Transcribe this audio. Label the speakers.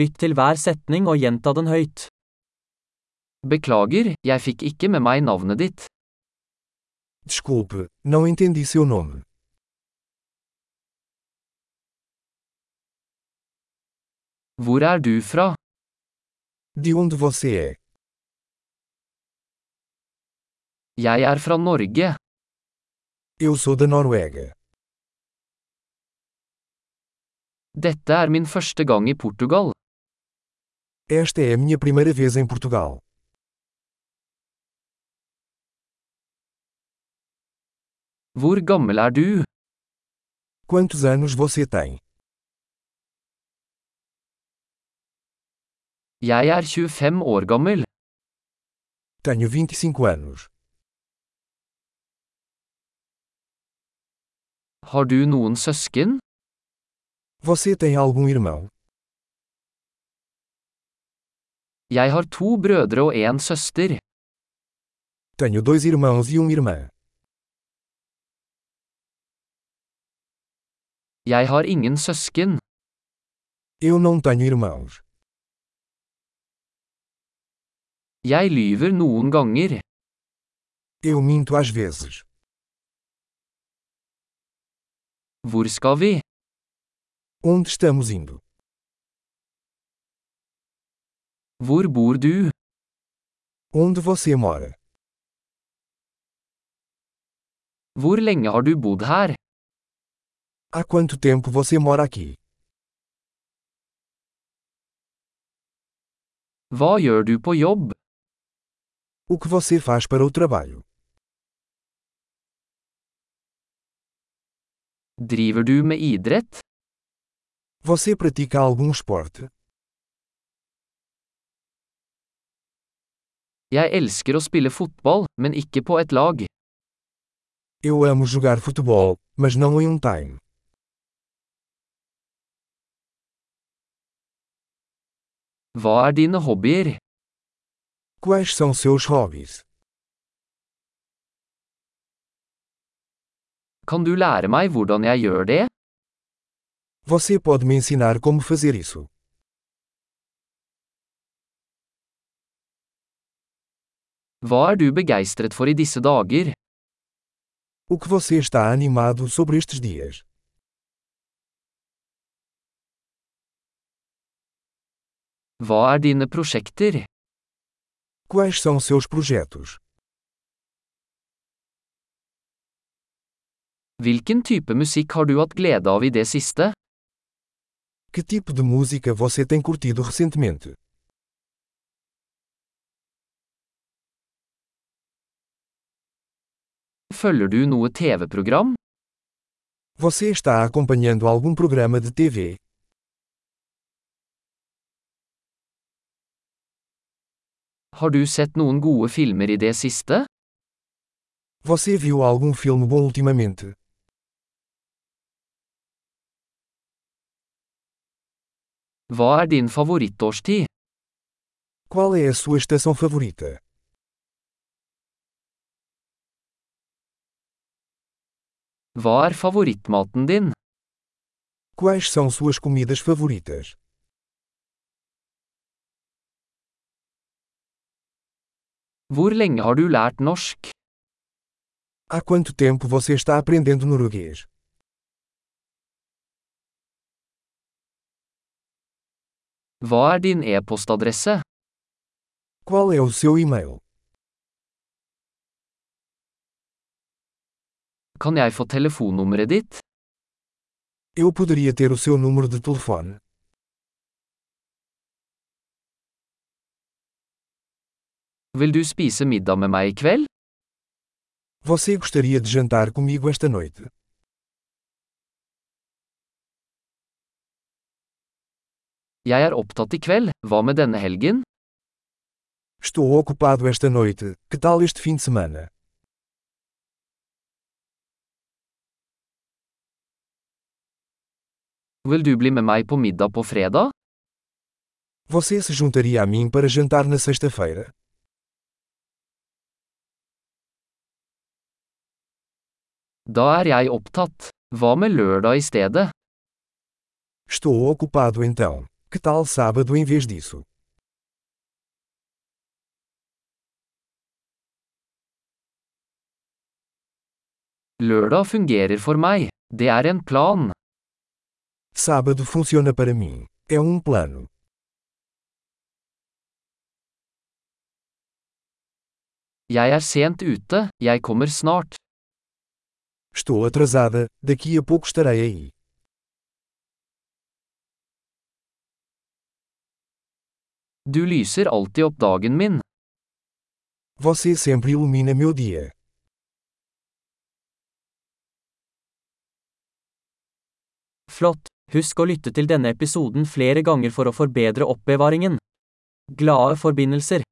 Speaker 1: Lytt til hver setning og gjenta den høyt.
Speaker 2: Beklager, jeg fikk ikke med meg navnet ditt.
Speaker 3: Desculpe, não entendi seu nome.
Speaker 2: Hvor er du fra?
Speaker 3: De onde você é?
Speaker 2: Jeg er fra Norge.
Speaker 3: Eu sou da Noruega.
Speaker 2: Dette er min første gang i Portugal.
Speaker 3: Esta é a minha primeira vez em Portugal.
Speaker 2: Hvor gammel er du?
Speaker 3: Quantos anos você tem?
Speaker 2: Jeg er 25 år gammel.
Speaker 3: Tenho 25 anos.
Speaker 2: Har du noen søsken?
Speaker 3: Você tem algum irmão?
Speaker 2: Jeg har to brødre og en søster.
Speaker 3: Tenho dois irmãos e uma irmã.
Speaker 2: Jeg har ingen søsken.
Speaker 3: Eu não tenho irmãos.
Speaker 2: Jeg lyver noen ganger.
Speaker 3: Eu minto às vezes.
Speaker 2: Hvor skal vi?
Speaker 3: Onde estamos indo?
Speaker 2: Hvor bor du?
Speaker 3: Onde você mora?
Speaker 2: Hvor lenge har du bodd her?
Speaker 3: Há quanto tempo você mora aqui?
Speaker 2: Hva gjør du på jobb?
Speaker 3: O que você faz para o trabalho?
Speaker 2: Driver du med idrett?
Speaker 3: Você pratica algum esporte?
Speaker 2: Jeg elsker å spille fotball, men ikke på et lag.
Speaker 3: Eu amo jogar futebol, mas não em um time.
Speaker 2: Hva er dine hobbyer?
Speaker 3: Quais são seus hobbies?
Speaker 2: Kan du lære meg hvordan jeg gjør det?
Speaker 3: Você pode me ensinar como fazer isso?
Speaker 2: Hva er du begeistret for i disse dager?
Speaker 3: O que você está animado sobre estes dias?
Speaker 2: Hva er dine prosjekter?
Speaker 3: Quais são seus projetos?
Speaker 2: Hvilken type musikk har du hatt glede av i det siste?
Speaker 3: Que tipo de música você tem curtido recentemente?
Speaker 2: Følger du noe TV-program?
Speaker 3: Você está acompanhando algum programa de TV?
Speaker 2: Har du sett noen gode filmer i det siste?
Speaker 3: Você viu algum filme bom ultimamente?
Speaker 2: Hva er din favorittårstid?
Speaker 3: Qual é a sua estação favorita?
Speaker 2: Hva er favorittmaten din?
Speaker 3: Quais são suas comidas favoritas?
Speaker 2: Hvor lenge har du lært norsk?
Speaker 3: Há quanto tempo você está aprendendo norueguês?
Speaker 2: Hva er din e-postadresse?
Speaker 3: Qual é o seu e-mail?
Speaker 2: Kan jeg få telefonnummeret ditt?
Speaker 3: Eu poderia ter o seu número de telefone.
Speaker 2: Vil du spise middag med meg i kveld?
Speaker 3: Você gostaria de jantar comigo esta noite?
Speaker 2: Jeg er opptatt i kveld, hva med denne helgen?
Speaker 3: Estou ocupado esta noite, que tal este fim de semana?
Speaker 2: Vil du bli med meg på middag på fredag?
Speaker 3: Você se juntaria a mim para jantar na sexta-feira?
Speaker 2: Da er jeg opptatt. Hva med lørdag i stedet?
Speaker 3: Estou ocupado então. Que tal sábado em vez disso?
Speaker 2: Lørdag fungerer for meg. Det er en plan.
Speaker 3: Sábado funciona para mim. É um plano.
Speaker 2: Jeg er sent ute, jeg kommer snart.
Speaker 3: Estou atrasada, daqui a pouco estarei aí.
Speaker 2: Du lyser alltid opp dagen min.
Speaker 3: Você sempre ilumina meu dia.
Speaker 1: Flott! Husk å lytte til denne episoden flere ganger for å forbedre oppbevaringen. Glade forbindelser!